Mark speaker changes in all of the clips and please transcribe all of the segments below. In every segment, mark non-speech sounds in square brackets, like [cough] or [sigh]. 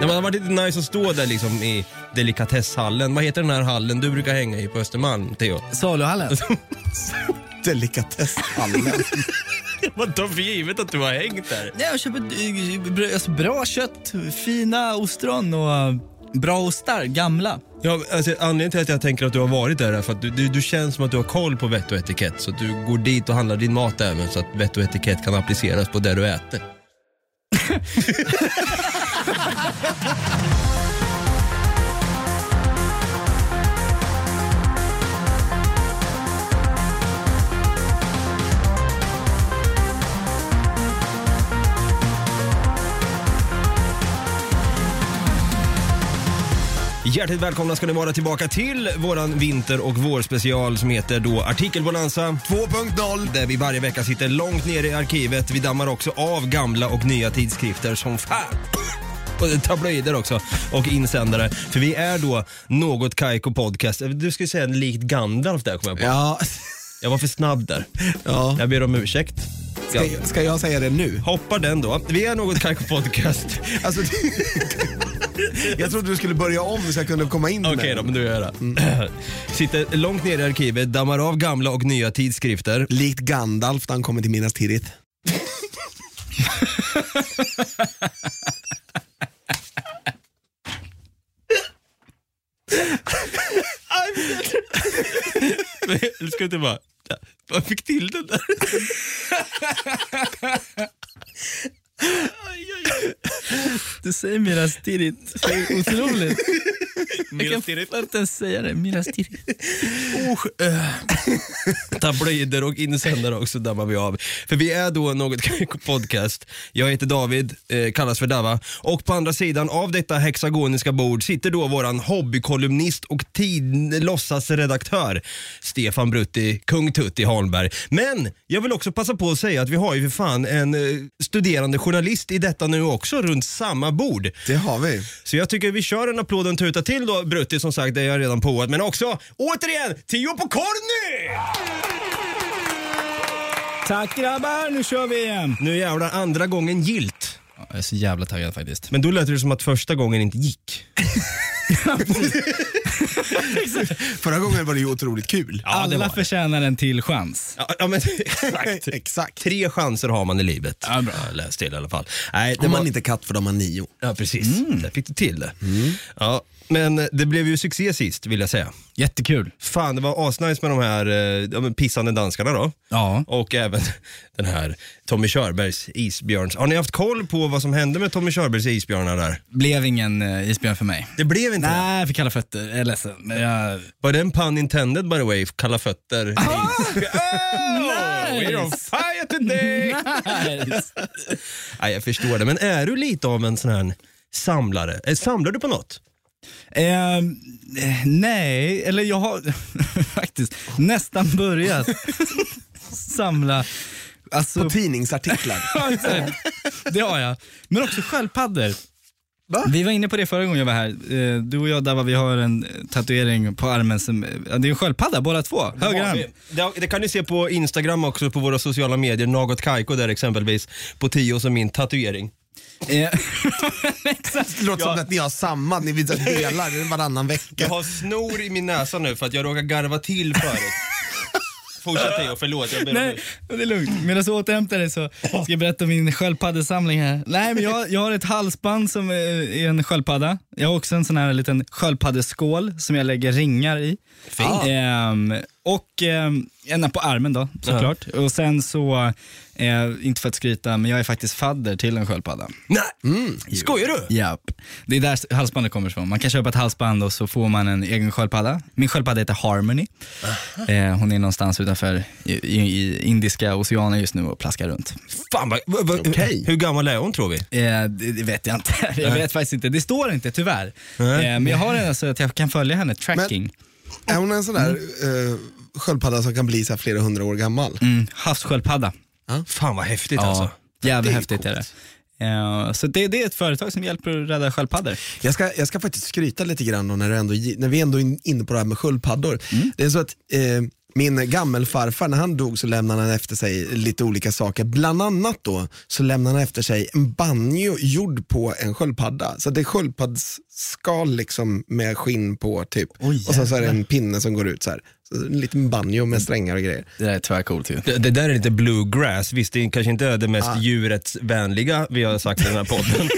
Speaker 1: Ja, men det har varit lite nice att stå där liksom i delikatesshallen. Vad heter den här hallen du brukar hänga i på Östermalm, [laughs] Theo?
Speaker 2: Saluhallen.
Speaker 3: Delikatesshallen.
Speaker 1: Man tar för givet att du har hängt där.
Speaker 2: [laughs] Nej, jag köper eh, br- alltså, bra kött, fina ostron och eh, bra ostar, gamla.
Speaker 1: Ja, men alltså, anledningen till att jag tänker att du har varit där är för att du, du, du känns som att du har koll på vett och etikett. Så att du går dit och handlar din mat även så att vett och etikett kan appliceras på det du äter. Hjärtligt välkomna ska ni vara tillbaka till våran vinter och vårspecial som heter då Artikelbonanza 2.0 där vi varje vecka sitter långt ner i arkivet. Vi dammar också av gamla och nya tidskrifter som fan. Och tabloider också och insändare. För vi är då något Kaiko Podcast. Du skulle säga likt Gandalf där kom jag på.
Speaker 4: Ja,
Speaker 1: Jag var för snabb där.
Speaker 4: ja.
Speaker 1: Jag ber om ursäkt.
Speaker 4: Ska, ska jag säga det nu?
Speaker 1: Hoppa den då. Vi är något Kaiko Podcast.
Speaker 4: Alltså, [laughs] jag trodde du skulle börja om så jag kunde komma in
Speaker 1: Okej då, men då gör jag det. [clears throat] Sitter långt ner i arkivet, dammar av gamla och nya tidskrifter.
Speaker 4: Likt Gandalf när han kommer till
Speaker 1: [laughs]
Speaker 4: Minas Tirith.
Speaker 1: Jag ska inte bara... Jag fick till den där.
Speaker 2: Du säger Miras Tirith, så [laughs] otroligt. Jag kan fan inte ens säga det, Miras Tirith.
Speaker 1: Tabloider och insändare också dammar vi av. För vi är då något [laughs] Kaiko podcast. Jag heter David, eh, kallas för Dava. Och på andra sidan av detta hexagoniska bord sitter då våran hobbykolumnist och tid- låtsasredaktör Stefan Brutti, kung Tutti Holmberg. Men jag vill också passa på att säga att vi har ju för fan en eh, studerande journalist i detta nu också runt samma bord.
Speaker 4: Det har vi.
Speaker 1: Så jag tycker vi kör en applåd och en tuta till då Brutti som sagt, det är jag redan påat. Men också återigen, Tio på Corny!
Speaker 2: Tack grabbar, nu kör vi igen.
Speaker 1: Nu jävlar, andra gången gilt.
Speaker 2: Jag är så jävla taggad faktiskt.
Speaker 1: Men då lät det som att första gången inte gick.
Speaker 4: Förra gången var det ju otroligt kul.
Speaker 1: det var
Speaker 2: Alla
Speaker 1: det.
Speaker 2: förtjänar en till chans.
Speaker 1: Ja, ja men exakt.
Speaker 4: Exakt.
Speaker 1: Tre chanser har man i livet.
Speaker 2: Ja, bra.
Speaker 1: Jag läste till i alla fall. Nej, det
Speaker 4: Om
Speaker 1: var...
Speaker 4: man inte katt för de har nio.
Speaker 1: Ja, precis. Där fick du till det. Ja, men det blev ju succé sist, vill jag säga.
Speaker 2: Jättekul.
Speaker 1: Fan, det var asnice med de här eh, de här pissande danskarna då.
Speaker 2: Ja.
Speaker 1: Och även [laughs] den här Tommy Körbergs isbjörns. Har ni haft koll på vad som hände med Tommy Körbergs isbjörnar där?
Speaker 2: Blev ingen eh, isbjörn för mig.
Speaker 1: Det blev inte det.
Speaker 2: Nej, jag fick kalla fötter. Jag är ledsen. Men jag...
Speaker 1: Var det en pun intended by the way? Kalla fötter.
Speaker 2: Nice!
Speaker 1: We're on fire today!
Speaker 2: [laughs] Nice.
Speaker 1: Nej, jag förstår det. Men är du lite av en sån här samlare? Eh, Samlar du på något?
Speaker 2: Ehm, eh, nej, eller jag har [laughs] faktiskt nästan
Speaker 4: [laughs]
Speaker 2: börjat samla. Alltså, [laughs]
Speaker 4: På tidningsartiklar.
Speaker 2: det har jag. Men också sköldpaddor.
Speaker 4: Va?
Speaker 2: Vi var inne på det förra gången jag var här. Eh, Du och jag Dava, vi har en eh, tatuering på armen som, eh, ja, det är en sköldpadda båda två. Höger arm.
Speaker 1: Det, det kan ni se på Instagram också, på våra sociala medier. Något Kaiko där exempelvis, på Tio som min tatuering.
Speaker 2: Eh, [laughs] Exakt.
Speaker 4: Det låter som att ni har samma, ni visar [laughs] delar varannan
Speaker 1: Jag
Speaker 4: vecka.
Speaker 1: har snor i min näsa nu för att jag råkar garva till [laughs] förut. Fortsätt Theo, förlåt. Jag ber om
Speaker 2: Nej,
Speaker 1: ursäkt.
Speaker 2: det är lugnt. Medan jag återhämtar dig så ska jag berätta om min sköldpaddesamling här. Nej, men jag, jag har ett halsband som eh, är en sköldpadda. Jag har också en sån här liten sköldpaddeskål som jag lägger ringar i.
Speaker 4: Fint.
Speaker 2: Ehm, och ehm, ena på armen då såklart. Och sen så, eh, inte för att skryta, men jag är faktiskt fadder till en sköldpadda.
Speaker 1: Nej. Mm. Skojar du?
Speaker 2: Japp. Det är där halsbandet kommer ifrån. Man kan köpa ett halsband och så får man en egen sköldpadda. Min sköldpadda heter Harmony. Eh, hon är någonstans utanför i, i, i Indiska oceanen just nu och plaskar runt.
Speaker 1: Fan vad, vad, vad,
Speaker 4: Okej.
Speaker 1: Hur gammal är hon tror vi?
Speaker 2: Eh, det, det vet jag inte. [laughs] alltså, Jag vet faktiskt inte. Det står inte tyvärr. Eh, men jag har den så att jag kan följa henne, tracking.
Speaker 4: Är hon en sån där eh, sköldpadda som kan bli så här flera hundra år gammal?
Speaker 2: Mm, havssköldpadda.
Speaker 1: Fan vad häftigt alltså.
Speaker 2: jävligt
Speaker 4: Det är
Speaker 2: häftigt är det. Eh, så det, det är ett företag som hjälper att rädda sköldpaddor.
Speaker 4: Jag ska, jag ska faktiskt skryta lite grann då när, du ändå, när vi ändå är in- inne på det här med sköldpaddor. Det är så att eh, min gammelfarfar, när han dog så lämnade han efter sig lite olika saker. Bland annat då så lämnade han efter sig en banjo gjord på en sköldpadda. Så det är sköldpaddsskal liksom med skinn på typ. och sen så är det en pinne som går ut så här. Så en liten banjo med strängar och grejer.
Speaker 2: Det där är tvärcoolt ju.
Speaker 1: Det, det där är lite bluegrass. Visst, det är kanske inte är det
Speaker 2: Ah.
Speaker 1: mest djurets vänliga vi har sagt i den här
Speaker 2: [laughs]
Speaker 1: podden.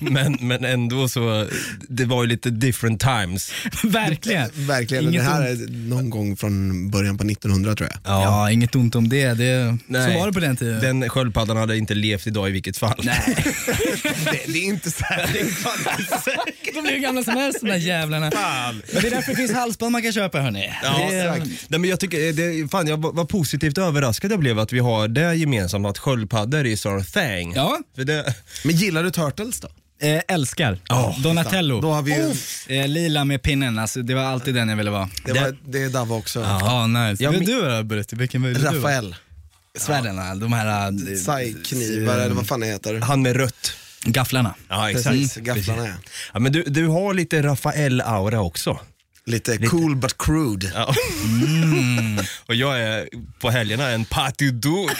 Speaker 1: men, men ändå så, det var ju lite different times.
Speaker 2: [laughs] Verkligen.
Speaker 4: Verkligen,
Speaker 2: Inget
Speaker 4: det här
Speaker 2: ont.
Speaker 4: är någon gång från början på 1900 tror jag.
Speaker 2: Ja. inget ont om det. det så var det på den tiden.
Speaker 1: Den sköldpaddan hade inte levt idag i vilket fall.
Speaker 2: Nej,
Speaker 4: [laughs] Det, det är inte särskilt.
Speaker 2: de blir hur gamla som helst de där jävlarna.
Speaker 1: Fan.
Speaker 2: Men det är därför det finns halsband man kan köpa hörni.
Speaker 1: [laughs] Ja,
Speaker 2: det,
Speaker 1: exakt. Nej, men jag tycker, eh, det, fan jag var var positivt överraskad jag blev att vi har det gemensamt att sköldpaddor är sån thing.
Speaker 2: Ja.
Speaker 1: För det,
Speaker 4: Men gillar du Turtles då?
Speaker 2: eh, älskar. Donatello.
Speaker 4: Då har vi ju,
Speaker 2: Eh, lila med pinnen, alltså, det var alltid den jag ville vara.
Speaker 4: det, var, det är Dava också.
Speaker 2: Ja, nice.
Speaker 1: Ja,
Speaker 2: Du,
Speaker 1: men-
Speaker 2: du då Brutti, vilken vill du vara?
Speaker 4: Rafael.
Speaker 2: Svärden, de här eh,
Speaker 4: Saiknivar eller vad fan det heter.
Speaker 1: han med rött.
Speaker 2: gafflarna.
Speaker 1: Ja,
Speaker 4: Precis, gafflarna ja.
Speaker 1: Ja, men du, du har lite Rafael-aura också.
Speaker 4: Lite cool but crude.
Speaker 1: Ja. Och jag är på helgerna en party dude.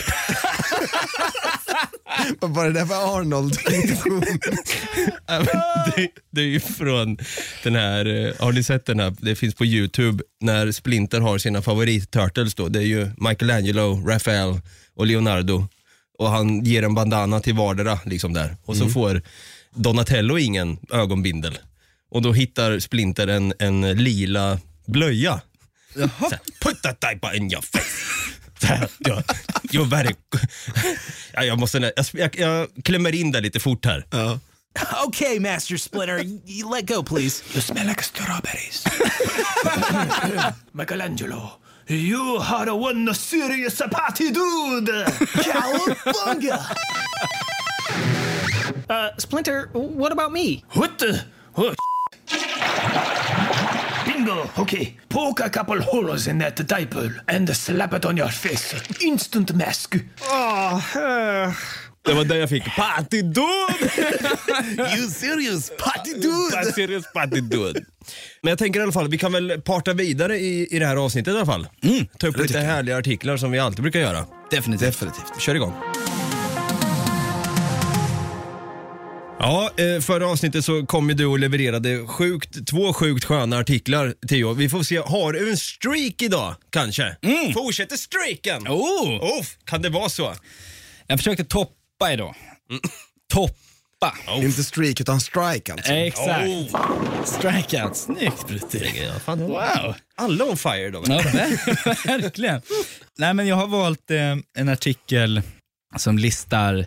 Speaker 4: Vad var det där för Arnold-introduktion?
Speaker 1: Ja, men det, det är ju från den här, eh, har ni sett den här, det finns på YouTube, när Splinter har sina favorit-turtles då. Det är ju Michelangelo, Raphael och Leonardo. Och han ger en bandana till vardera liksom där. Och så får Donatello ingen ögonbindel. Och då hittar Splinter en, en lila blöja. Så här, Put that diaper in your face. Så här, jag, jag, very... [laughs] ja, jag, måste, nä- jag, jag, jag klämmer in det lite fort här.
Speaker 5: Okay, Master Splinter, you let go, please. You smell like strawberries. Michelangelo, you are the one serious party dude. Cowabunga!
Speaker 6: Uh, Splinter, what about me?
Speaker 5: What the? Oh, Bingo! Okay, poke a couple holes in that diaper and slap it on your face. Instant mask.
Speaker 1: Det var där jag fick party
Speaker 2: [laughs]
Speaker 1: dude.
Speaker 4: you serious party
Speaker 1: That's
Speaker 4: dude?
Speaker 1: serious party dude. Men jag tänker i alla fall, vi kan väl parta vidare i, i det här avsnittet i alla fall.
Speaker 2: Mm,
Speaker 1: Ta upp lite härliga artiklar som vi alltid brukar göra.
Speaker 2: Definitivt.
Speaker 4: Definitivt.
Speaker 1: Kör igång. Ja, eh, förra avsnittet så kom ju du och levererade sjukt, två sjukt sköna artiklar Theo. Vi får se, har du en streak idag kanske? Fortsätter streaken?
Speaker 2: Mm. Oh,
Speaker 1: Oh, kan det vara så?
Speaker 2: jag försökte toppa idag.
Speaker 4: Mm.
Speaker 2: Toppa.
Speaker 4: Inte streak utan strike alltså.
Speaker 2: Mm. Exakt.
Speaker 1: Oh.
Speaker 2: Strikeout. Snyggt Brutti.
Speaker 1: Ja, fan,
Speaker 2: Wow.
Speaker 1: Alla on fire idag.
Speaker 2: Ja, [laughs] ver- verkligen. Nej, men jag har valt eh, en artikel som listar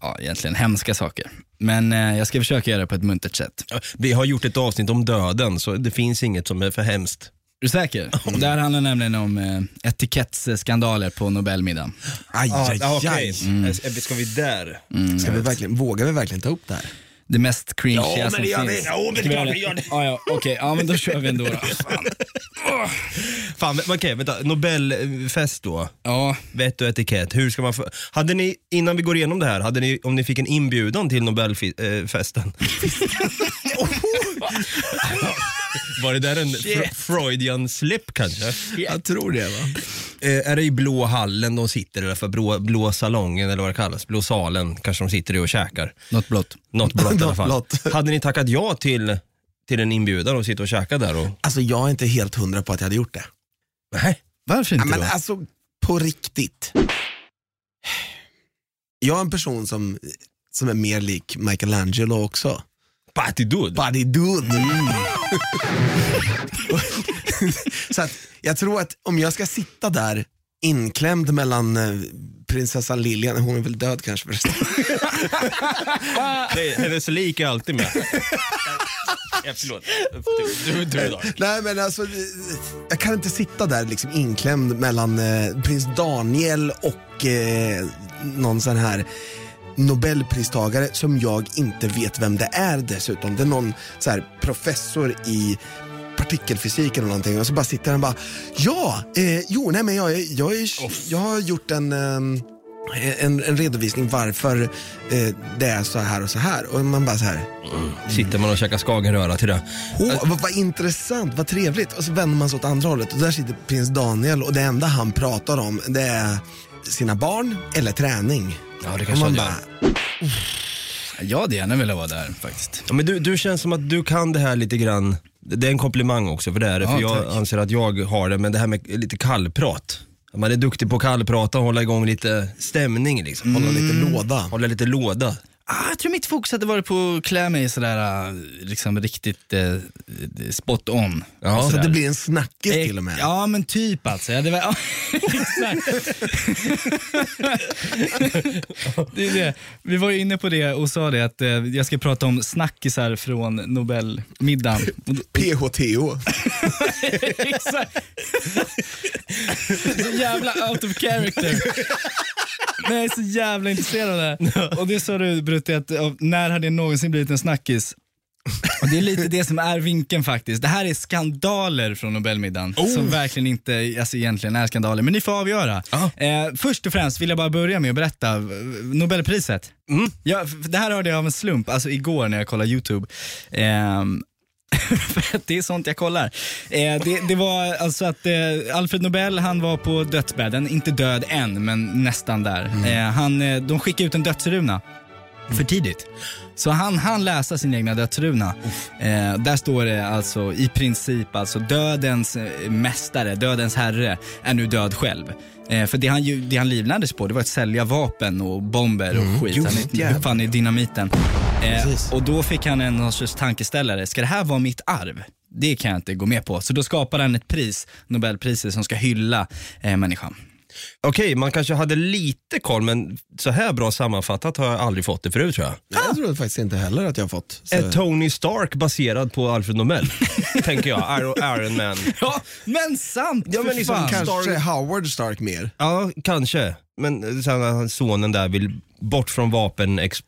Speaker 2: ja, egentligen hemska saker. Men eh, jag ska försöka göra det på ett muntert sätt.
Speaker 1: Vi har gjort ett avsnitt om döden, så det finns inget som är för hemskt.
Speaker 2: Är du säker?
Speaker 1: Mm.
Speaker 2: Det här handlar nämligen om eh, etikettsskandaler på Nobelmiddagen.
Speaker 4: Aj, aj,
Speaker 1: Ja,
Speaker 4: aj.
Speaker 1: okej. Mm. Ska vi där?
Speaker 4: Ska vi verkligen, vågar vi verkligen ta upp det här?
Speaker 2: Det mest cringiga som finns.
Speaker 1: Ja, men det är klart vi gör det.
Speaker 2: Ja, ja, Okej, ja, men då kör vi
Speaker 1: [laughs]
Speaker 2: ändå. Då.
Speaker 1: Fan, men- okej, vänta. Nobelfest då.
Speaker 2: Ja,
Speaker 1: Vett och etikett. Hur ska man få... Hade ni, innan vi går igenom det här, hade ni, om ni fick en inbjudan till [laughs] Nobelfesten? Oh, Var det där en fr- Freudian slip kanske?
Speaker 4: Jag tror det va?
Speaker 1: Eh, är det i blå hallen de sitter, eller för blå, blå salongen eller vad det kallas? Blå salen kanske de sitter i och käkar.
Speaker 2: något blått.
Speaker 1: Något blått i alla
Speaker 4: Något
Speaker 1: fall.
Speaker 4: blått.
Speaker 1: Hade ni tackat ja till, till en inbjudan och sitta och käka där? Och...
Speaker 4: Alltså jag är inte helt hundra på att jag hade gjort det.
Speaker 1: Nej.
Speaker 2: Varför inte
Speaker 4: men
Speaker 2: då?
Speaker 4: alltså på riktigt. Jag är en person som, som är mer lik Michelangelo också.
Speaker 1: Party dude.
Speaker 4: Buddy mm. dude. [laughs] så att jag tror att om jag ska sitta där inklämd mellan eh, prinsessan Lilian, hon är väl död kanske förresten.
Speaker 1: Nej, hennes lik är alltid med. ja, förlåt. Du, du, du idag.
Speaker 4: Nej men alltså, eh, jag kan inte sitta där liksom inklämd mellan eh, prins Daniel och eh, någon sån här nobelpristagare som jag inte vet vem det är dessutom. Det är någon så här professor i partikelfysik eller någonting och så bara sitter han bara, ja, eh, jo, nej men jag, är- jag, är, jag har gjort en, ehm, en, en redovisning varför eh, det är så här och så här. Och man bara så här,
Speaker 1: Sitter man och käkar skagenröra till det. Alltså-
Speaker 4: Åh, vad, vad intressant, vad trevligt. Och så vänder man sig åt andra hållet och där sitter prins Daniel och det enda han pratar om det är sina barn eller träning.
Speaker 1: Ja, det
Speaker 4: Och
Speaker 1: kanske
Speaker 4: man
Speaker 1: han
Speaker 4: bara,
Speaker 1: gör.
Speaker 2: Jag hade gärna velat vara där faktiskt.
Speaker 1: Ja, Men du, du känns som att du kan det här lite grann. Det är en komplimang också för det är det, för
Speaker 2: Ja,
Speaker 1: jag
Speaker 2: tack.
Speaker 1: anser att jag har det, men det här med lite kallprat. Att Man är duktig på att kallprata och hålla igång lite stämning liksom. Hålla lite
Speaker 4: låda.
Speaker 1: Hålla lite låda.
Speaker 2: Ah, jag tror mitt fokus hade varit på att klä mig sådär, eh, liksom riktigt eh, spot on.
Speaker 1: Ja.
Speaker 2: Och
Speaker 4: så
Speaker 2: sådär.
Speaker 4: att det blir en snackis
Speaker 2: Eh,
Speaker 4: till och med.
Speaker 2: Ja men typ alltså. Ja, det var, [laughs] ja, exakt. det är det. Vi var ju inne på det och sa det att eh, jag ska prata om snackisar från Nobelmiddagen. Och då-
Speaker 1: [laughs]
Speaker 4: PHTO.
Speaker 2: Exakt. så jävla out of character. Men jag är så jävla intresserad av det här. Och det sa du Brutti, att av- när hade jag någonsin blivit en snackis? Och det är lite det som är vinkeln faktiskt. Det här är skandaler från Nobelmiddagen som verkligen inte alltså, egentligen är skandaler. Men ni får avgöra. Eh, först och främst vill jag bara börja med att berätta eh, Nobelpriset. Ja, f- det här hörde jag av en slump, alltså igår när jag kollade YouTube. Ehm, för att [laughs] det är sånt jag kollar. Eh, det, det var alltså att eh, Alfred Nobel, han var på dödsbädden. Inte död än, men nästan där. Eh, han, eh, de skickade ut en dödsruna för tidigt. Så han han läsa sin egna dödsruna. Eh, där står det alltså i princip alltså dödens eh, mästare, dödens herre är nu död själv. Eh, för det han, ju- det han livnades på det var att sälja vapen och bomber och skit. han uppfann ju dynamiten. Eh, och då fick han en någon sorts tankeställare. Ska det här vara mitt arv? Det kan jag inte gå med på. Så då skapade han ett pris, Nobelpriset, som ska hylla eh, människan.
Speaker 1: Okej, man kanske hade lite koll, men så här bra sammanfattat har jag aldrig fått det förut tror jag.
Speaker 4: Nej, Jag tror faktiskt inte heller att jag har fått. Så.
Speaker 1: Är Tony Stark baserad på Alfred [laughs] Nobel? tänker jag, Iron, Iron Man.
Speaker 2: [laughs] Ja, men sant!
Speaker 1: Ja, men
Speaker 2: för
Speaker 1: liksom
Speaker 2: fan.
Speaker 4: Kanske
Speaker 1: Stark-
Speaker 4: Howard Stark mer.
Speaker 1: Ja, kanske. Men eh, sen att han- sonen där vill bort från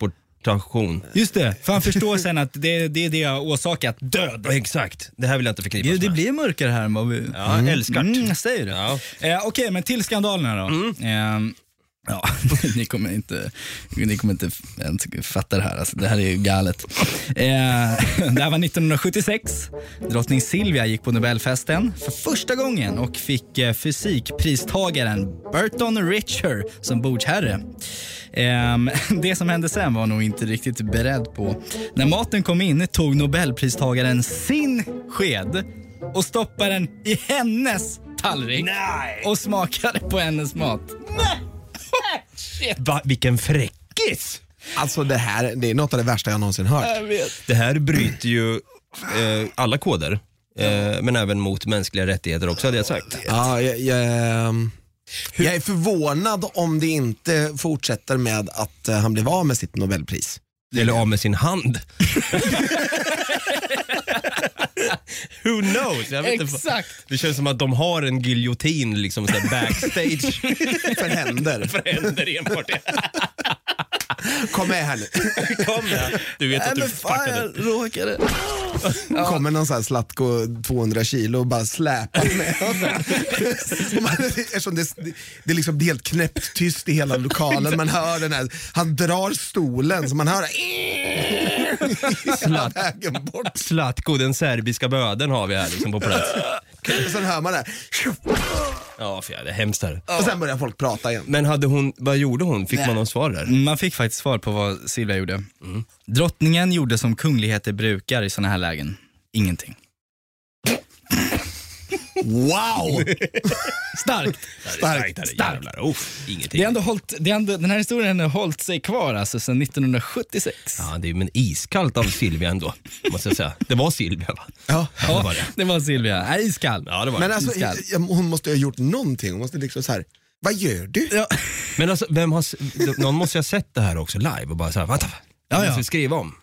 Speaker 1: vapenexportation.
Speaker 2: Just det, för han förstår sen att det, det är det jag har årsakat, död.
Speaker 1: Ja, Exakt, Eh. det här vill jag inte förknippas
Speaker 2: Jo,
Speaker 1: med.
Speaker 2: det blir mörkare här än vad vi...
Speaker 1: Ja, älskar.
Speaker 2: Mm, jag säger det.
Speaker 1: Ja. Mm.
Speaker 2: Eh, Okej, men till skandalerna då. Ehm, ja, [laughs] ni kommer inte, ni kommer inte ens fatta det här. Alltså, det här är ju galet. Eh, [laughs] det här var 1976. Drottning Silvia gick på Nobelfesten för första gången och fick eh, fysikpristagaren Burton Richer som bordsherre. Ehm, [laughs] det som hände sen var nog inte riktigt beredd på. När maten kom in tog Nobelpristagaren sin sked och stoppade den i hennes tallrik och smakade på hennes mat.
Speaker 1: Va, vilken fräckis!
Speaker 4: Alltså det här, det är något av det värsta jag någonsin hört.
Speaker 1: Det här bryter ju eh, alla koder, eh, men även mot mänskliga rättigheter också hade jag sagt.
Speaker 4: Ja, jag, jag, ehm, jag är förvånad om det inte fortsätter med att eh, han blev av med
Speaker 1: [laughs]
Speaker 4: sitt nobelpris.
Speaker 1: Eller av med sin hand. [laughs] Who knows? Jag vet Inte.
Speaker 2: Exakt!
Speaker 1: Det känns som att de har en giljotin liksom, så här
Speaker 2: [laughs]
Speaker 1: backstage
Speaker 4: För händer.
Speaker 1: för händer enbart.
Speaker 4: Kom med här nu.
Speaker 1: Kom där. Du vet att du fuckade upp.
Speaker 2: råkade.
Speaker 4: kommer någon sån här Zlatko 200 kilo och bara släpar med honom. Och man- Eftersom det, det är liksom helt knäppt tyst i hela lokalen. Man hör den här, han drar stolen så man hör hela vägen bort.
Speaker 1: Zlatko, den serbiska böden har vi här liksom, på plats.
Speaker 4: Och sen hör man det här.
Speaker 1: [laughs] Ja, för det är hemskt här.
Speaker 4: Och sen börjar folk prata igen.
Speaker 1: Men hade hon, vad gjorde hon? Fick man någon svar där?
Speaker 2: Man fick faktiskt svar på vad Silvia gjorde.
Speaker 1: Mm.
Speaker 2: Drottningen gjorde som kungligheter brukar i sådana här lägen. Ingenting.
Speaker 4: Wow!
Speaker 2: Starkt!
Speaker 4: Starkt.
Speaker 2: Starkt.
Speaker 1: Jävlar, uff, ingenting.
Speaker 2: Det har ändå hållt, det har ändå, den här historien har hållit sig kvar alltså sedan 1976.
Speaker 1: Ja, det är men iskallt av Silvia ändå, måste jag säga. Det var Silvia va?
Speaker 4: Ja.
Speaker 1: Ja, det var det.
Speaker 2: det var Silvia. Nej, Iskall.
Speaker 1: Ja, det var
Speaker 4: Men
Speaker 1: det.
Speaker 4: alltså,
Speaker 2: Iskall.
Speaker 4: jag- hon måste ju ha gjort någonting. Hon måste liksom så här. vad gör du?
Speaker 2: Ja.
Speaker 1: Men alltså, vem har, s- någon måste ju ha sett det här också live och bara såhär, vänta, det
Speaker 2: Ja, ja.
Speaker 1: måste vi skriva om.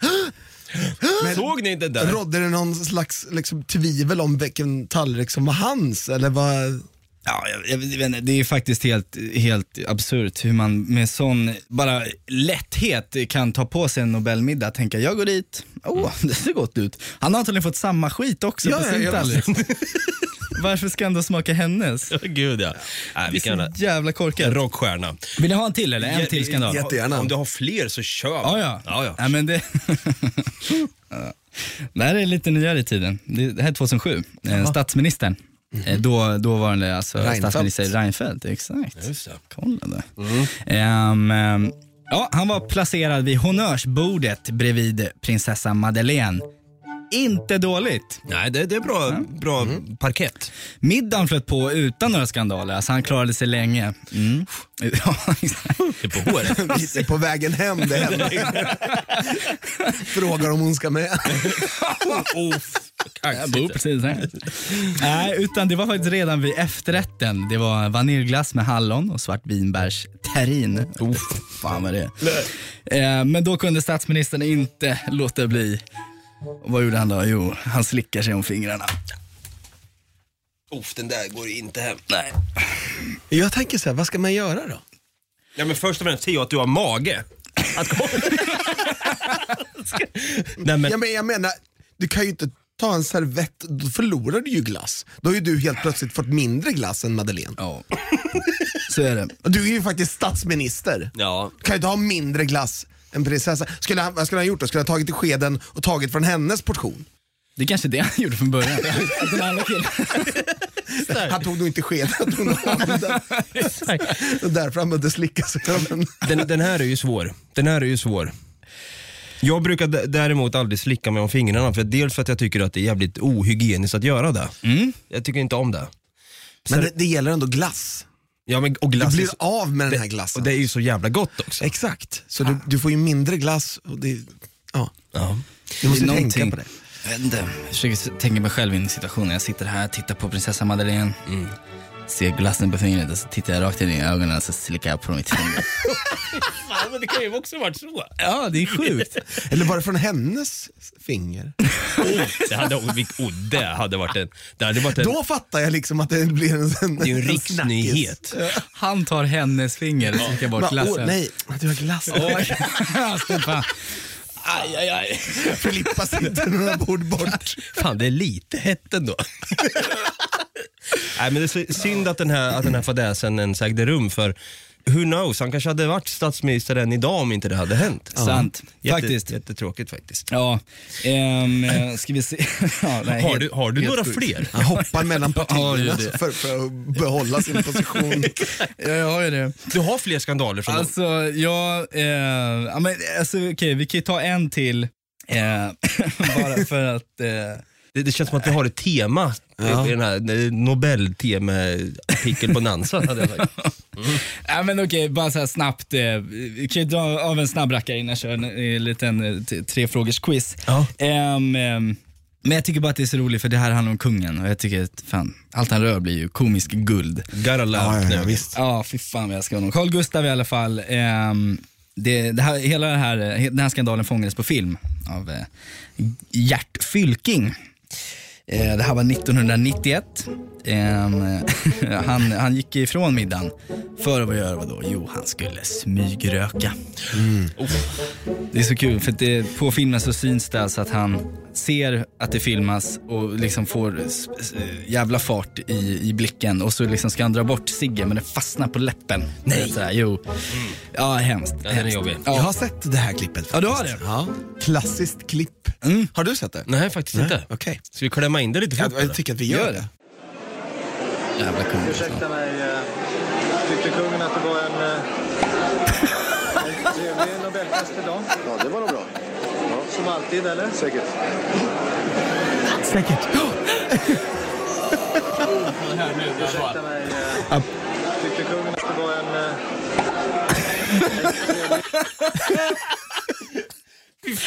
Speaker 1: Såg ni inte det där?
Speaker 4: Rådde det någon slags liksom, tvivel om vilken tallrik som var hans? Eller vad?
Speaker 2: Ja, jag, jag, vet inte, det är faktiskt helt, helt absurt hur man med sån bara lätthet kan ta på sig en Nobelmiddag och tänka jag går dit, åh [laughs] det ser gott ut. Han har antagligen fått samma skit också
Speaker 4: Ja,
Speaker 2: på
Speaker 4: ja,
Speaker 2: sin [laughs]
Speaker 4: ja,
Speaker 2: tallrik. Varför ska han då smaka hennes?
Speaker 1: Gud ja. Nej,
Speaker 2: Det
Speaker 1: vi
Speaker 2: är
Speaker 1: kan
Speaker 2: så jävla korkat.
Speaker 1: Rockstjärna.
Speaker 2: Vill ni ha en till eller? En till skandal?
Speaker 4: Jättegärna.
Speaker 1: Om du har fler så kör.
Speaker 2: Ja, ja.
Speaker 1: ja, ja.
Speaker 2: Nej, men det... [laughs] Ja. det här är lite nyare i tiden. Det det här är 2007. Eh, Statsministern.
Speaker 1: Mhm.
Speaker 2: Eh, Då, dåvarande alltså
Speaker 4: Reinfeldt.
Speaker 2: statsminister Reinfeldt, exakt.
Speaker 1: Just det. Mm.
Speaker 2: Kolla där. Ehm, ehm, ja, han var placerad vid honnörsbordet bredvid prinsessa Madeleine. Inte dåligt.
Speaker 1: Nej, det, det är bra, bra parkett.
Speaker 2: Middagen flöt på utan några skandaler, alltså han klarade sig länge. Mm. [laughs] Ja, exakt.
Speaker 1: Det är på
Speaker 4: [laughs]
Speaker 1: håret.
Speaker 4: Det är på vägen hem det händer. [laughs] Frågar om hon ska med.
Speaker 1: oh,
Speaker 2: Jag
Speaker 1: kaxigt.
Speaker 2: bor precis här. Nej, utan det var faktiskt redan vid efterrätten. Det var vaniljglass med hallon och svart vinbärs terrine. Oh, fan vad det är. Eh, Men då kunde statsministern inte låta bli. Och vad gjorde han då? Jo, han slickar sig om fingrarna.
Speaker 1: Uff, den där går inte hem.
Speaker 2: Nej.
Speaker 4: Jag tänker så här, vad ska man göra då?
Speaker 1: [laughs] Ja, men först och främst, se att du har mage. Att komma. [laughs] Nej, men,
Speaker 4: Ja, men jag menar, du kan ju inte ta en servett, då förlorar du ju glass. Då har ju du helt plötsligt fått mindre glass än Madeleine.
Speaker 2: Ja, så är det.
Speaker 4: Och Du är ju faktiskt statsminister.
Speaker 1: ja.
Speaker 4: Du kan ju inte ha mindre glass än prinsessa. Skulle han, vad skulle han ha gjort då? Skulle han ha tagit i skeden och tagit från hennes portion?
Speaker 2: Det är kanske är det han gjorde från början. Att den andra killen...
Speaker 4: Han tog nog inte skeden, han tog nog
Speaker 1: [laughs]
Speaker 4: handen. Och därför han behövde slicka sig om en.
Speaker 1: Den, den här är ju svår. Den här är ju svår. Jag brukar d- däremot aldrig slicka mig om fingrarna, för dels för att jag tycker att det är jävligt ohygieniskt att göra det. Jag tycker inte om det.
Speaker 4: Men det, det gäller ändå glass.
Speaker 1: Ja, men, och glass
Speaker 4: Du
Speaker 1: är
Speaker 4: blir
Speaker 1: så-
Speaker 4: av med den här
Speaker 1: Och
Speaker 4: glassen.
Speaker 1: det är ju så jävla gott också.
Speaker 4: Exakt, så du, du får ju mindre glass och det, ja.
Speaker 1: Ja.
Speaker 4: Du måste
Speaker 2: Det är
Speaker 4: tänka
Speaker 2: någonting-
Speaker 4: på det.
Speaker 2: Jag vet inte. Jag försöker tänka mig själv i en situation när jag sitter här, tittar på prinsessa Madeleine,
Speaker 4: Mm.
Speaker 2: ser glassen på fingret och så tittar jag rakt in i ögonen och så slickar jag på mitt
Speaker 4: [laughs]
Speaker 2: finger.
Speaker 1: Fan, men det kan ju också varit så.
Speaker 2: ja, det är sjukt.
Speaker 4: Eller var det från hennes finger?
Speaker 1: Oh, det, hade, oh, det hade varit en... Det hade varit en
Speaker 4: Då fattar jag liksom att det blir en, en
Speaker 1: det är ju en
Speaker 4: snackis.
Speaker 1: riksnyhet.
Speaker 2: Han tar hennes finger och slickar bort
Speaker 4: Men,
Speaker 2: glassen. [laughs]
Speaker 4: åh, nej, du har glass.
Speaker 2: Stefan. Aj, aj,
Speaker 4: [laughs]
Speaker 2: aj.
Speaker 4: Filippa sitter några bord bort.
Speaker 1: Fan, det är lite hett ändå. Nej, men det är så synd att den här, att den här fadäsen ens ägde rum för who knows, han kanske hade varit statsminister än idag om inte det hade hänt.
Speaker 2: Sant.
Speaker 1: Jätte,
Speaker 2: Faktiskt.
Speaker 1: Jättetråkigt faktiskt.
Speaker 2: Ja, ehm, eh, ska vi se. [laughs] Ja, nej,
Speaker 1: Har
Speaker 2: helt-
Speaker 1: du, har du
Speaker 2: helt
Speaker 1: några
Speaker 2: sjukt.
Speaker 1: fler?
Speaker 4: Han [laughs] hoppar mellan
Speaker 2: Ja, det
Speaker 4: partierna
Speaker 2: är det.
Speaker 4: för, för att behålla sin position.
Speaker 2: Ja, jag har ju det.
Speaker 1: Du har fler skandaler från
Speaker 2: Alltså, ja, eh, ja men alltså okej, vi kan ju ta en till. Eh, [laughs] bara för att... Eh,
Speaker 1: det, det känns som att vi har ett tema i den här Nobeltema-artikeln på Nansa. Hade jag
Speaker 4: [laughs]
Speaker 1: sagt.
Speaker 2: ja, men okej, bara så här snabbt. Eh, vi kan ju dra av en snabb rackare innan jag kör en eh, liten eh, t- trefrågersquiz.
Speaker 1: Ja.
Speaker 2: Ehm, ehm, men jag tycker bara att det är så roligt för det här handlar om kungen och jag tycker att fan, allt han rör blir ju komiskt guld.
Speaker 1: Gotta love Knut.
Speaker 2: Ja, fy fan vad jag älskar honom. Carl Gustav i alla fall. ehm, det, det här, hela det här, eh, den här skandalen fångades på film av eh, Gert Fylking. Eh, det här var 1991. Ehm, [laughs] han, han gick ifrån middagen för att vad göra vadå? Jo, han skulle smygröka. Det är så kul, för att det, på filmen så syns det alltså att han ser att det filmas och liksom får s- s- jävla fart i, i blicken och så liksom ska han dra bort ciggen men den fastnar på läppen. Nej! Sådär, jo. Ja, hemskt.
Speaker 1: den är
Speaker 2: hemskt.
Speaker 1: jobbig.
Speaker 4: Jag
Speaker 2: Ja.
Speaker 4: har sett det här klippet.
Speaker 2: Ja, du har
Speaker 4: faktiskt.
Speaker 2: det?
Speaker 4: Ja. Klassiskt klipp. Har du sett det?
Speaker 1: Nej, faktiskt inte.
Speaker 4: Okej.
Speaker 1: Ska vi klämma in det lite fort?
Speaker 4: Jag, jag tycker att vi gör
Speaker 2: Gör
Speaker 4: det.
Speaker 2: det. Jävla kung. alltså.
Speaker 7: Ursäkta mig. eh, Tyckte kungen att det var en eh, en trevlig Nobelfest idag? Ja, det var nog bra. Som alltid, eller? Säkert.
Speaker 4: Säkert.
Speaker 7: Ursäkta mig. eh, Tyckte kungen att det var en... eh,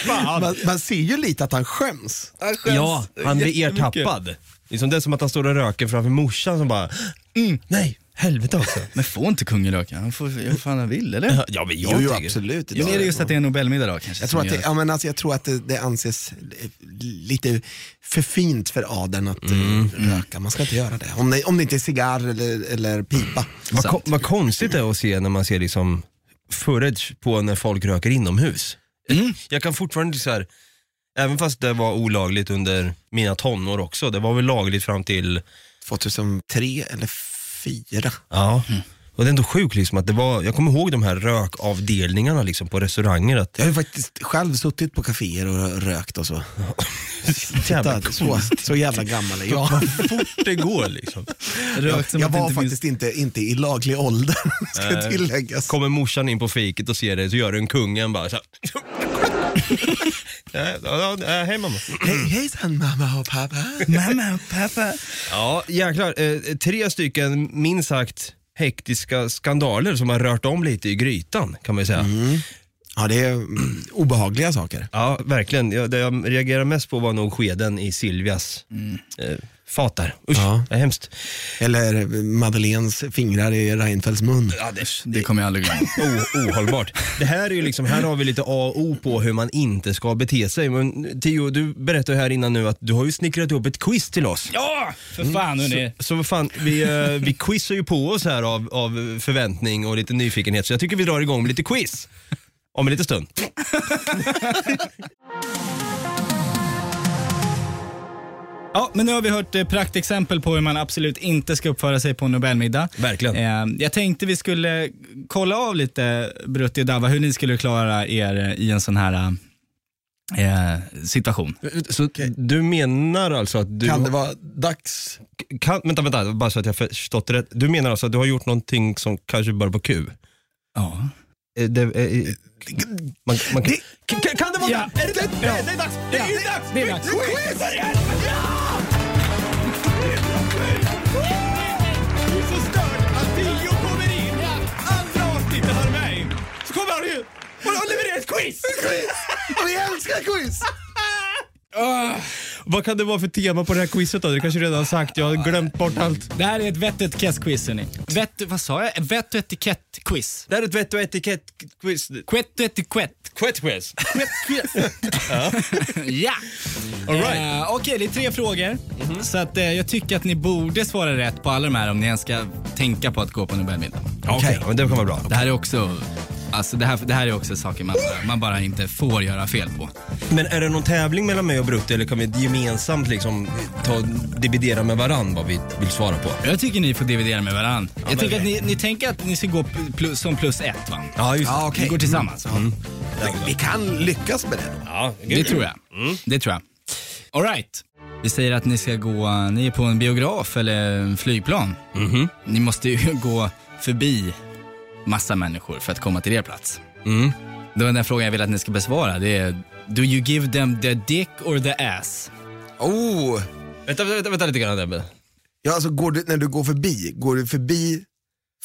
Speaker 4: Man, man ser ju lite att han skäms.
Speaker 1: Ja, han blir
Speaker 2: jättemycket.
Speaker 1: ertappad. Liksom det är som att han står och röker framför morsan som bara, mm, nej, Helvete också.
Speaker 2: Men får inte kungen röka? Han får göra vad fan han vill, eller?
Speaker 1: Ja, men
Speaker 4: Jo,
Speaker 1: jag
Speaker 4: jo
Speaker 1: tycker-
Speaker 4: absolut.
Speaker 2: Men är det just att det är en Nobelmiddag då kanske?
Speaker 4: Jag tror,
Speaker 2: som
Speaker 4: att det,
Speaker 2: gör
Speaker 4: ja, men alltså, jag tror att det, det anses eh, lite för fint för adeln att eh,
Speaker 2: Mm.
Speaker 4: röka. Man ska inte göra det. Om det, om det inte är cigarr eller, eller
Speaker 2: Mm.
Speaker 4: pipa.
Speaker 1: Vad,
Speaker 4: Så
Speaker 1: ko-
Speaker 4: att-
Speaker 1: vad konstigt det är att se när man ser liksom footage på när folk röker inomhus.
Speaker 4: Mm.
Speaker 1: Jag kan fortfarande så här, även fast det var olagligt under mina tonår också, det var väl lagligt fram till,
Speaker 4: 2003 eller 2004.
Speaker 1: ja. Och det är ändå sjukt liksom att det var, jag kommer ihåg de här rökavdelningarna liksom på restauranger att, [laughs]
Speaker 4: Jag har ju faktiskt själv suttit på kaféer och rökt
Speaker 2: [laughs]
Speaker 4: och så.
Speaker 1: jävla
Speaker 4: Titta, så, så jävla gammal är jag.
Speaker 1: fort det går
Speaker 4: [laughs]
Speaker 1: liksom.
Speaker 2: Rökt som
Speaker 4: Jag
Speaker 2: att
Speaker 4: var
Speaker 2: inte
Speaker 4: faktiskt inte, inte i laglig ålder, [laughs] ska tilläggas.
Speaker 1: Kommer morsan in på fiket och ser det så gör den kungen bara så här. [laughs] Ja, ja, ja, Hej mamma.
Speaker 2: Mm.
Speaker 4: Hej, hejsan mamma och pappa.
Speaker 2: minns- Mamma och pappa.
Speaker 1: Ja, jäklar. Eh, tre stycken minst sagt hektiska skandaler som har rört om lite i grytan kan man ju säga.
Speaker 4: Ja, det är mm, obehagliga saker.
Speaker 1: Ja, verkligen. Jag, det jag reagerar mest på var nog skeden i Silvias eh, fat där. Usch,
Speaker 4: Ja.
Speaker 1: det är hemskt.
Speaker 4: Eller Madeleines fingrar i Reinfeldts mun.
Speaker 2: Det kommer jag aldrig glömma.
Speaker 1: O- ohållbart. Det här är ju liksom, här har vi lite A och O på hur man inte ska bete sig. Men Theo, du berättade här innan nu att du har ju snickrat ihop ett quiz till oss.
Speaker 2: [laughs] Ja, för fan hörni.
Speaker 1: Så vad fan, vi, eh, vi quizar ju på oss här av, av förväntning och lite nyfikenhet. Så jag tycker vi drar igång med lite quiz. Om en liten stund.
Speaker 2: Ja, men nu har vi hört eh, praktexempel på hur man absolut inte ska uppföra sig på en Nobelmiddag.
Speaker 1: Verkligen.
Speaker 2: Eh, jag tänkte vi skulle kolla av lite, Brutti och Dava, hur ni skulle klara er eh, i en sån här eh, situation.
Speaker 1: Så du menar alltså att du...
Speaker 4: Kan det vara dags?
Speaker 1: kan, vänta, vänta, bara så att jag förstått det rätt. Du menar alltså att du har gjort någonting som kanske börjar på Q?
Speaker 2: Ja.
Speaker 1: Eh, Det, eh, eh, man, man kan, kan, kan det vara
Speaker 2: Ja.
Speaker 1: det? Är det, det, det, är dags! Det är
Speaker 2: Ja,
Speaker 1: dags!
Speaker 2: det är dags.
Speaker 1: Quiz!
Speaker 4: Vi älskar quiz!
Speaker 1: Ah. Vad kan det vara för tema på det här quizet då? Det kanske du redan har sagt, jag har glömt bort allt.
Speaker 2: Det här är ett vett och etikett-quiz hörni. Vett, vad sa jag? Ett Vett och etikett-quiz.
Speaker 1: Det här är ett vett och etikett-quiz.
Speaker 2: Kvett och etikett.
Speaker 1: Quet-quiz. [laughs]
Speaker 2: ja!
Speaker 1: All right. Mhm.
Speaker 2: Eh, Okej, det är tre frågor. Så att, eh, jag tycker att ni borde svara rätt på alla de här om ni ens ska tänka på att gå på Nobelmiddag.
Speaker 1: Okej, men det kan vara bra.
Speaker 2: Det här är också, alltså det här, det här är också saker man, man bara inte får göra fel på.
Speaker 1: Men är det någon tävling mellan mig och Brutti eller kan vi gemensamt liksom ta och dividera med varann vad vi vill svara på?
Speaker 2: Jag tycker ni får dividera med varandra. jag tycker
Speaker 1: men-
Speaker 2: att ni, ni tänker att ni ska gå p- plus, som plus ett va?
Speaker 1: Ja, just
Speaker 4: Ja,
Speaker 2: Ni
Speaker 4: okej.
Speaker 2: går tillsammans.
Speaker 4: Vi- Vi kan lyckas med det. då.
Speaker 1: Ja, Mm.
Speaker 2: Det tror jag. Det tror jag. All right. Vi säger att ni ska gå, ni är på en biograf eller en flygplan.
Speaker 1: Mhm.
Speaker 2: Ni måste ju gå förbi massa människor för att komma till er plats.
Speaker 1: Mm.
Speaker 2: Då är den frågan jag vill att ni ska besvara, det är Do you give them the dick or the ass?
Speaker 4: Oh.
Speaker 1: Vänta, vänta, vänta lite grann Debbe.
Speaker 4: Ja, alltså går du, när du går förbi, går du förbi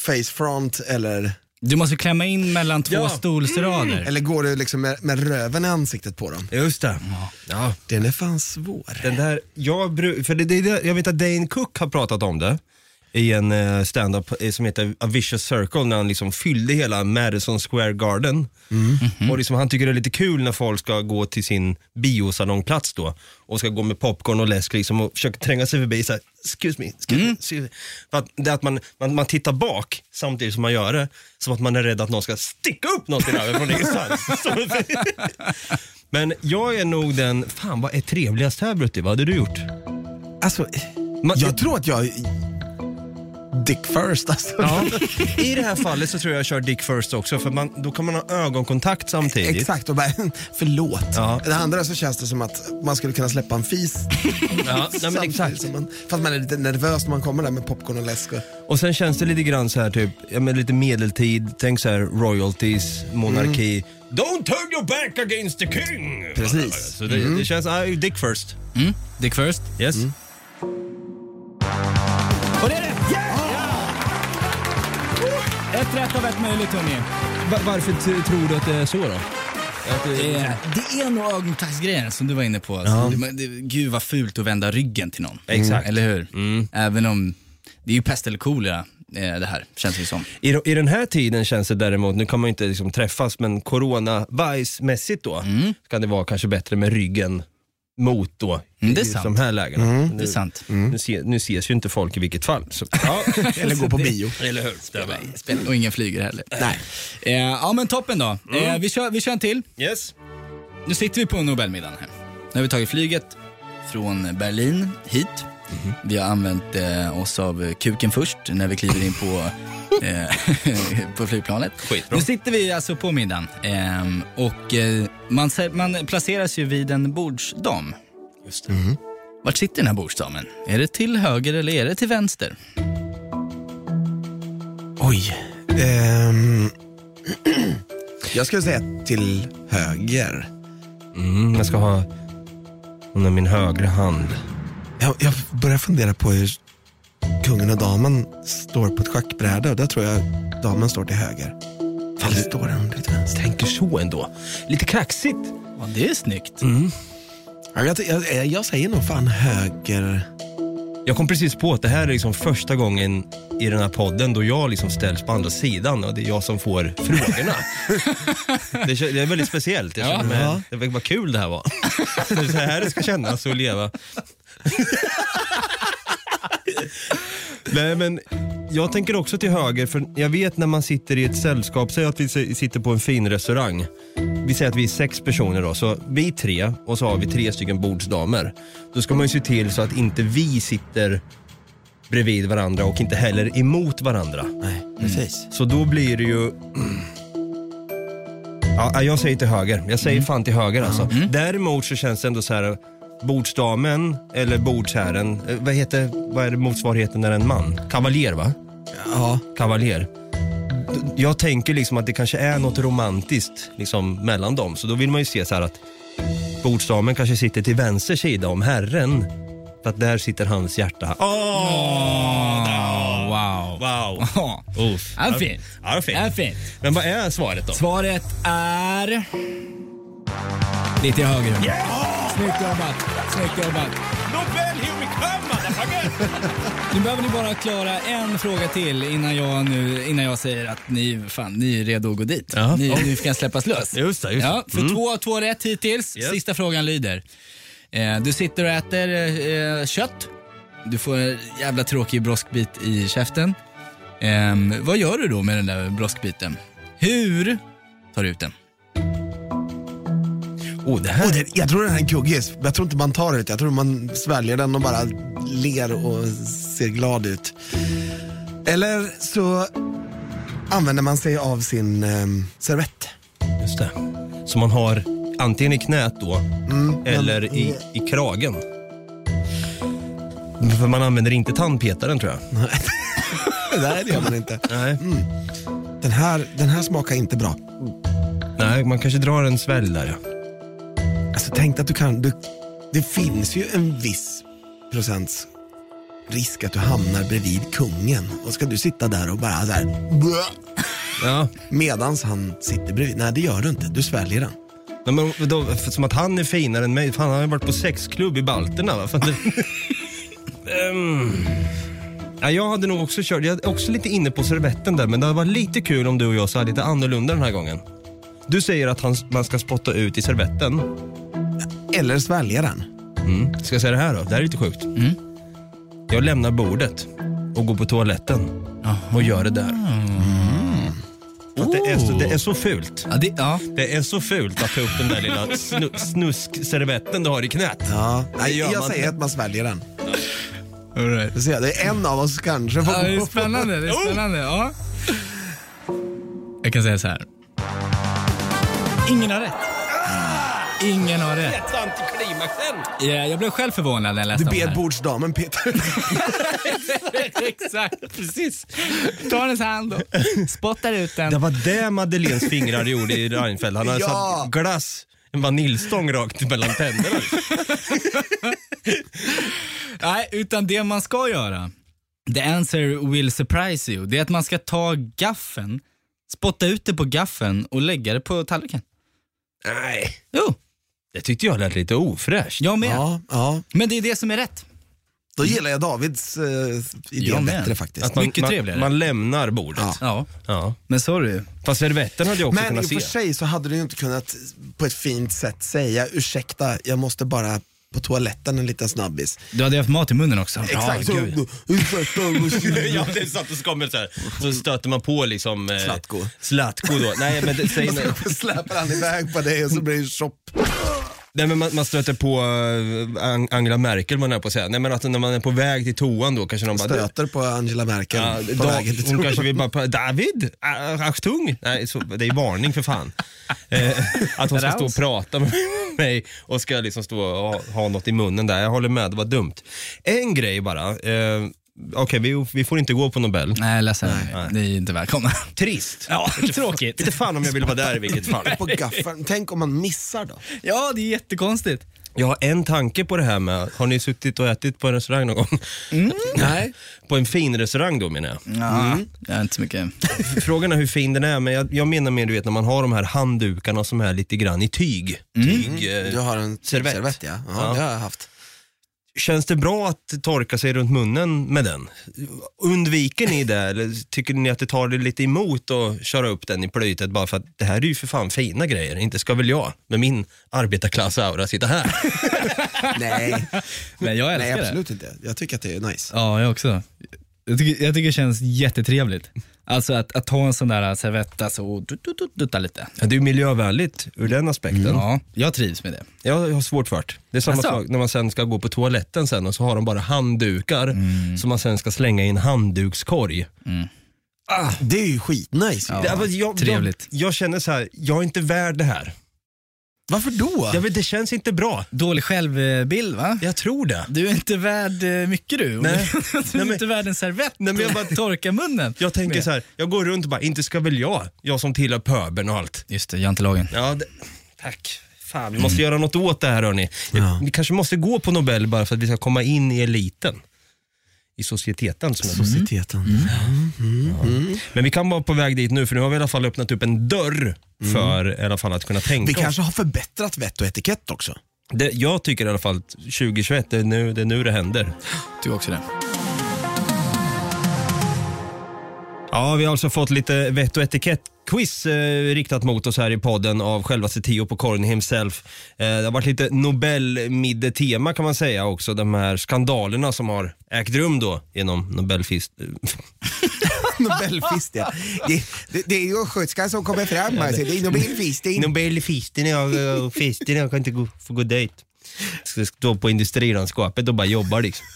Speaker 4: face front eller,
Speaker 2: Du måste klämma in mellan två
Speaker 1: Ja.
Speaker 2: stolsrader.
Speaker 4: eller går du liksom med, med röven i ansiktet på dem?
Speaker 1: Just det. Ja.
Speaker 4: Den är fan svår.
Speaker 1: Den där, jag, bru- för det, det, det, jag vet att Dane Cook har pratat om det i en eh, stand-up eh, som heter A Vicious Circle när han liksom fyllde hela Madison Square Garden.
Speaker 4: Mm.
Speaker 1: Och liksom, han tycker det är lite kul när folk ska gå till sin biosalongplats då och ska gå med popcorn och läsk liksom, och försöka tränga sig förbi så här, excuse me, excuse
Speaker 4: Mm.
Speaker 1: me, excuse me. För att, det är att man, man, man tittar bak samtidigt som man gör det, som att man är rädd att någon ska sticka upp något i röven
Speaker 4: [laughs]
Speaker 1: från ingenstans. Som [laughs] en- Men jag är nog den, fan vad är trevligast här Brutti, vad hade du gjort?
Speaker 4: Alltså,
Speaker 1: Man,
Speaker 4: jag tror att jag... Dick first alltså.
Speaker 1: Ja. I det här fallet så tror jag jag kör Dick First också, för man, då kan man ha ögonkontakt samtidigt.
Speaker 4: Exakt, och bara "Hm, förlåt.
Speaker 1: Ja.
Speaker 4: Det andra så känns det som att man skulle kunna släppa en fis.
Speaker 1: Ja, nej, men
Speaker 4: samtidigt
Speaker 1: exakt.
Speaker 4: som Man, fast man är lite nervös när man kommer där med popcorn och läsk. Och,
Speaker 1: Och sen känns det lite grann så här typ, ja, men lite medeltid, tänk så här royalties, monarki. Don't turn your back against the king!
Speaker 4: Mm. Precis. Mm.
Speaker 1: Så det, det känns, ah, Dick First.
Speaker 2: Mm. Dick first.
Speaker 1: Yes.
Speaker 2: Och det är det! Ja! Ett rätt av ett möjligt hörni.
Speaker 1: varför tror du att det är så då?
Speaker 2: Det är, det är nog ögonkontaktsgrejen som du var inne på. Alltså, det- men det, gud vad fult att vända ryggen till någon. Mm.
Speaker 1: Exakt.
Speaker 2: Eller hur? Även om, det är ju pest eller kolera. eh, det här, känns det som.
Speaker 1: I, I den här tiden känns det däremot, nu kan man ju inte liksom träffas, men coronavajsmässigt då, kan det vara kanske bättre med ryggen mot då,
Speaker 2: Mm, det är
Speaker 1: i
Speaker 2: sant.
Speaker 1: de här lägena. Nu,
Speaker 2: Det är sant.
Speaker 1: Nu, se, nu ses ju inte folk i vilket fall. Så,
Speaker 4: Mm.
Speaker 1: [laughs]
Speaker 4: Eller gå på bio.
Speaker 1: Eller hur?
Speaker 2: Spelar- Och ingen flyger heller. Nej. Eh, ja men toppen då. Eh, vi, kör, vi kör en till.
Speaker 1: Yes.
Speaker 2: Nu sitter vi på Nobelmiddagen här. Nu har vi tagit flyget från Berlin hit. Vi har använt eh, oss av kuken först när vi kliver in på, eh, på flygplanet.
Speaker 1: Skitbra.
Speaker 2: Nu sitter vi alltså på middagen ehm, och eh, man, ser- man placeras ju vid en bordsdam. Just Vart sitter den här bordsdamen? Är det till höger eller är det till vänster?
Speaker 4: Oj. Ehm. [clears throat] Jag skulle säga till höger.
Speaker 1: Mm, jag ska ha under min högra hand.
Speaker 4: Jag, jag börjar fundera på hur kungen och damen står på ett schackbräde och där tror jag damen står till höger. Eller står den till vänster?
Speaker 1: Tänker så ändå. Lite kaxigt.
Speaker 2: Ja, det är snyggt.
Speaker 4: Ja, Jag, jag, jag säger nog fan höger.
Speaker 1: Jag kom precis på att det här är liksom första gången i den här podden då jag liksom ställs på andra sidan och det är jag som får frågorna. det, kän- det är väldigt speciellt. Jag känner mig, det var vad kul det här var. [laughs] Det är så här det ska kännas att leva. Nej men jag tänker också till höger för jag vet när man sitter i ett sällskap, säg att vi s- sitter på en fin restaurang. Vi säger att vi är sex personer då, så vi tre och så har vi tre stycken bordsdamer. Då ska man ju se till så att inte vi sitter bredvid varandra och inte heller emot varandra. Mm.
Speaker 4: Nej, precis.
Speaker 1: Så då blir det ju... Ja, jag säger till höger. Jag säger fan till höger alltså. Däremot så känns det ändå så här bordsdamen eller bordsherren. eh, Vad heter, vad är det motsvarigheten när en man? Kavaljer va?
Speaker 4: Ja,
Speaker 1: Kavaljer. D- Jag tänker liksom att det kanske är något romantiskt liksom mellan dem. Så då vill man ju se så här att bordsdamen kanske sitter till vänster sida om herren. För att där sitter hans hjärta. Åh!
Speaker 2: wow.
Speaker 1: Wow!
Speaker 2: Ja.
Speaker 1: Uff.
Speaker 2: Ja, fint.
Speaker 1: Ja, det är fint.
Speaker 2: Ja, fint.
Speaker 1: Men vad är svaret då?
Speaker 2: Svaret är... Lite högre. Snyggt jobbat. Snyggt jobbat. Nu behöver ni bara klara en fråga till innan jag, nu, innan jag säger att ni, fan, ni är redo att gå dit.
Speaker 1: Ja.
Speaker 2: Ni, ni kan släppas lös.
Speaker 1: Just det, just det. Mm.
Speaker 2: Ja, för två, två rätt hittills.
Speaker 1: Yes.
Speaker 2: Sista frågan lyder. Eh, du sitter och äter eh, kött. Du får en jävla tråkig broskbit i käften. Ehm, vad gör du då med den där broskbiten? Hur tar du ut den?
Speaker 1: Oh, det här
Speaker 4: Och det, jag tror den här är kuggis. Jag tror inte man tar ut Jag tror man sväljer den och bara ler och ser glad ut. Eller så använder man sig av sin ehm, servett.
Speaker 1: Just det. Mm, Som man har antingen i knät då, eller i, i kragen. För man använder inte tandpetaren tror jag.
Speaker 4: [laughs] Nej, det gör man inte. Mm.
Speaker 1: Nej,
Speaker 4: Den här, den här smakar inte bra.
Speaker 1: Nej man kanske drar en svälj där ja.
Speaker 4: Alltså tänk att du kan... Du, det finns ju en viss procents risk att du hamnar bredvid kungen. Och ska du sitta där och bara så här... [laughs]
Speaker 1: ja.
Speaker 4: Medans han sitter bredvid. Nej, det gör du inte. Du sväljer den.
Speaker 1: Nej, men då, för- som att han är finare än mig. Fan, han har ju varit på sexklubb i Balterna. Va? Fan, det- Ehm. Ja, jag hade nog också kört, jag är också lite inne på servetten där, men det hade varit lite kul om du och jag sa lite annorlunda den här gången. Du säger att han, man ska spotta ut i servetten. Mm.
Speaker 4: Eller svälja den.
Speaker 1: Ska jag säga det här då? Det här är lite sjukt. Jag lämnar bordet och går på toaletten och gör det där. För att det, är så, det är så fult.
Speaker 2: Ja, det, ja.
Speaker 1: Det är så fult att ta upp den där lilla snu, snuskservetten du har i knät.
Speaker 4: Ja,
Speaker 1: Det
Speaker 4: nej,
Speaker 1: gör
Speaker 4: jag
Speaker 1: man.
Speaker 4: säger att man sväljer den. Så ser jag, det är en av oss kanske får
Speaker 2: Ja, det är spännande. Det är spännande. Ja. Jag kan säga så här. Ingen har rätt. Ingen har rätt. Ja, jag blev själv förvånad när jag läste
Speaker 4: Du
Speaker 2: om det
Speaker 4: bed
Speaker 2: här.
Speaker 4: bordsdamen Peter.
Speaker 2: [laughs] Exakt, precis. Ta hennes hand och spottar ut
Speaker 1: Det
Speaker 2: den.
Speaker 1: var det Madeleines fingrar gjorde i Reinfeldt. Han hade
Speaker 4: Ja.
Speaker 1: satt glass, en vaniljstång rakt mellan tänderna.
Speaker 2: Nej, utan det man ska göra, the answer will surprise you, det är att man ska ta gaffen, spotta ut det på gaffen och lägga det på tallriken.
Speaker 1: Nej.
Speaker 2: Jo,
Speaker 1: Det tyckte jag lät lite ofräscht.
Speaker 2: jag med.
Speaker 4: ja, ja.
Speaker 2: Men det är det som är rätt.
Speaker 4: Då gillar jag Davids eh, idé
Speaker 2: Jag med.
Speaker 4: bättre faktiskt.
Speaker 1: Att man,
Speaker 2: Mycket
Speaker 1: man,
Speaker 2: trevligare.
Speaker 1: Man lämnar bordet. Ja.
Speaker 2: Ja, men sorry.
Speaker 1: Fast servetten hade jag också
Speaker 4: Men i
Speaker 1: kunnat
Speaker 4: och för
Speaker 1: se.
Speaker 4: sig så hade du ju inte kunnat på ett fint sätt säga ursäkta, jag måste bara på toaletten en liten snabbis.
Speaker 2: Du hade haft mat i munnen också.
Speaker 4: Exakt.
Speaker 2: Ja,
Speaker 4: Så,
Speaker 2: gud.
Speaker 4: ursäkta, jag måste-
Speaker 1: [laughs] ja, det är sant. Och så kommer det så här. Så stöter man på liksom... Eh,
Speaker 4: Zlatko.
Speaker 1: Zlatko då. Nej, men det,
Speaker 4: [laughs]
Speaker 1: säg nej.
Speaker 4: Så [laughs] släpar han iväg på dig och så blir det chopp.
Speaker 1: Nej men man, man stöter på eh, Ang- Angela Merkel man är på att säga. Nej men att när man är på väg till toan då kanske de bara... du,
Speaker 4: Stöter på Angela Merkel
Speaker 1: Ja,
Speaker 4: på
Speaker 1: da,
Speaker 4: vägen till
Speaker 1: hon
Speaker 4: toan.
Speaker 1: kanske vill bara, pa- David, Ah, Achtung! Nej, så, det är varning för
Speaker 4: [laughs]
Speaker 1: fan. Eh, att hon ska stå och prata med [laughs] mig och ska liksom stå och ha, ha något i munnen där. Jag håller med, det var dumt. En grej bara. Eh, Okej, vi, vi får inte gå på Nobel.
Speaker 2: Nej, ledsen. Ni är inte välkomna.
Speaker 1: Trist.
Speaker 2: Ja,
Speaker 1: [laughs]
Speaker 2: tråkigt.
Speaker 1: Inte fan om jag vill vara där i vilket
Speaker 4: [laughs]
Speaker 1: fall.
Speaker 4: på gaffeln. Tänk om man missar då?
Speaker 2: [laughs] Ja, det är jättekonstigt.
Speaker 1: Jag har en tanke på det här med, har ni suttit och ätit på en restaurang någon gång?
Speaker 4: Mm. Nej.
Speaker 1: På en fin restaurang då menar jag.
Speaker 2: Ja, jag är inte så [laughs] mycket.
Speaker 1: Frågan är hur fin den är, men jag, jag menar mer du vet när man har de här handdukarna som är lite grann i tyg. tyg eh,
Speaker 4: Du har en servett,
Speaker 1: Servett.
Speaker 4: ja. ja,
Speaker 1: Ja.
Speaker 4: Det har jag haft.
Speaker 1: Känns det bra att torka sig runt munnen med den? Undviker ni det eller tycker ni att det tar det lite emot att köra upp den i plytet bara för att det här är ju för fan fina grejer, inte ska väl jag med min arbetarklass-aura sitta här? [laughs]
Speaker 4: Nej,
Speaker 2: Men jag
Speaker 4: Nej
Speaker 2: älskar det.
Speaker 4: absolut inte. Jag tycker att det är nice.
Speaker 2: Ja, jag också. Jag tycker, jag tycker det känns jättetrevligt. Alltså att, att ta en sån där servett alltså, och dut, dut, dut, dutta lite.
Speaker 1: Ja, det är ju miljövänligt ur den aspekten.
Speaker 2: Ja, jag trivs med det.
Speaker 1: Jag har svårt för det. Det är samma
Speaker 2: Jaså?
Speaker 1: sak när man sen ska gå på toaletten sen och så har de bara handdukar som man sen ska slänga i en handdukskorg. Ah.
Speaker 4: Det är ju skitnice. ju.
Speaker 2: Ja.
Speaker 1: Det- alltså, jag,
Speaker 2: trevligt.
Speaker 1: Jag, jag känner så här, jag är inte värd det här.
Speaker 4: Varför då?
Speaker 1: Jag vet, det känns inte bra.
Speaker 2: Dålig självbild va?
Speaker 1: Jag tror det.
Speaker 2: Du är inte värd eh, mycket du.
Speaker 1: Nej.
Speaker 2: [laughs] Du är
Speaker 1: men-
Speaker 2: inte värd en servett
Speaker 1: Nej, men jag bara-
Speaker 2: att torka munnen.
Speaker 1: Jag tänker så här, jag går runt och bara, inte ska väl jag, jag som tillhör pöbeln och allt. Mm.
Speaker 2: Just det, jantelagen.
Speaker 1: Ja, det, tack. Fan, vi måste göra något åt det här hörni. Vi kanske måste gå på Nobel bara för att vi ska komma in i eliten. I societeten som jag brukar
Speaker 4: Societeten.
Speaker 1: Men vi kan vara på väg dit nu för nu har vi i alla fall öppnat upp en dörr för i alla fall att kunna tänka.
Speaker 4: Vi
Speaker 1: oss.
Speaker 4: kanske har förbättrat vett och etikett också.
Speaker 1: det, jag tycker i alla fall att 2021, det är, nu, det är nu det händer.
Speaker 2: Du också det.
Speaker 1: Ja, vi har alltså fått lite vett och etikett quiz eh, riktat mot oss här i podden av självaste Tio på korn himself. Eh, det har varit lite Nobelmiddetema kan man säga också, de här skandalerna som har ägt rum då genom Nobelfist.
Speaker 4: [laughs] Nobelfist ja. Det, det, det är ju en skötska som kommer fram. Alltså. Det är Nobelfist. Det är
Speaker 1: Nobelfisten, jag, festen, jag kan inte gå, få gå dit. Ska stå på industrilandskapet och bara jobba liksom.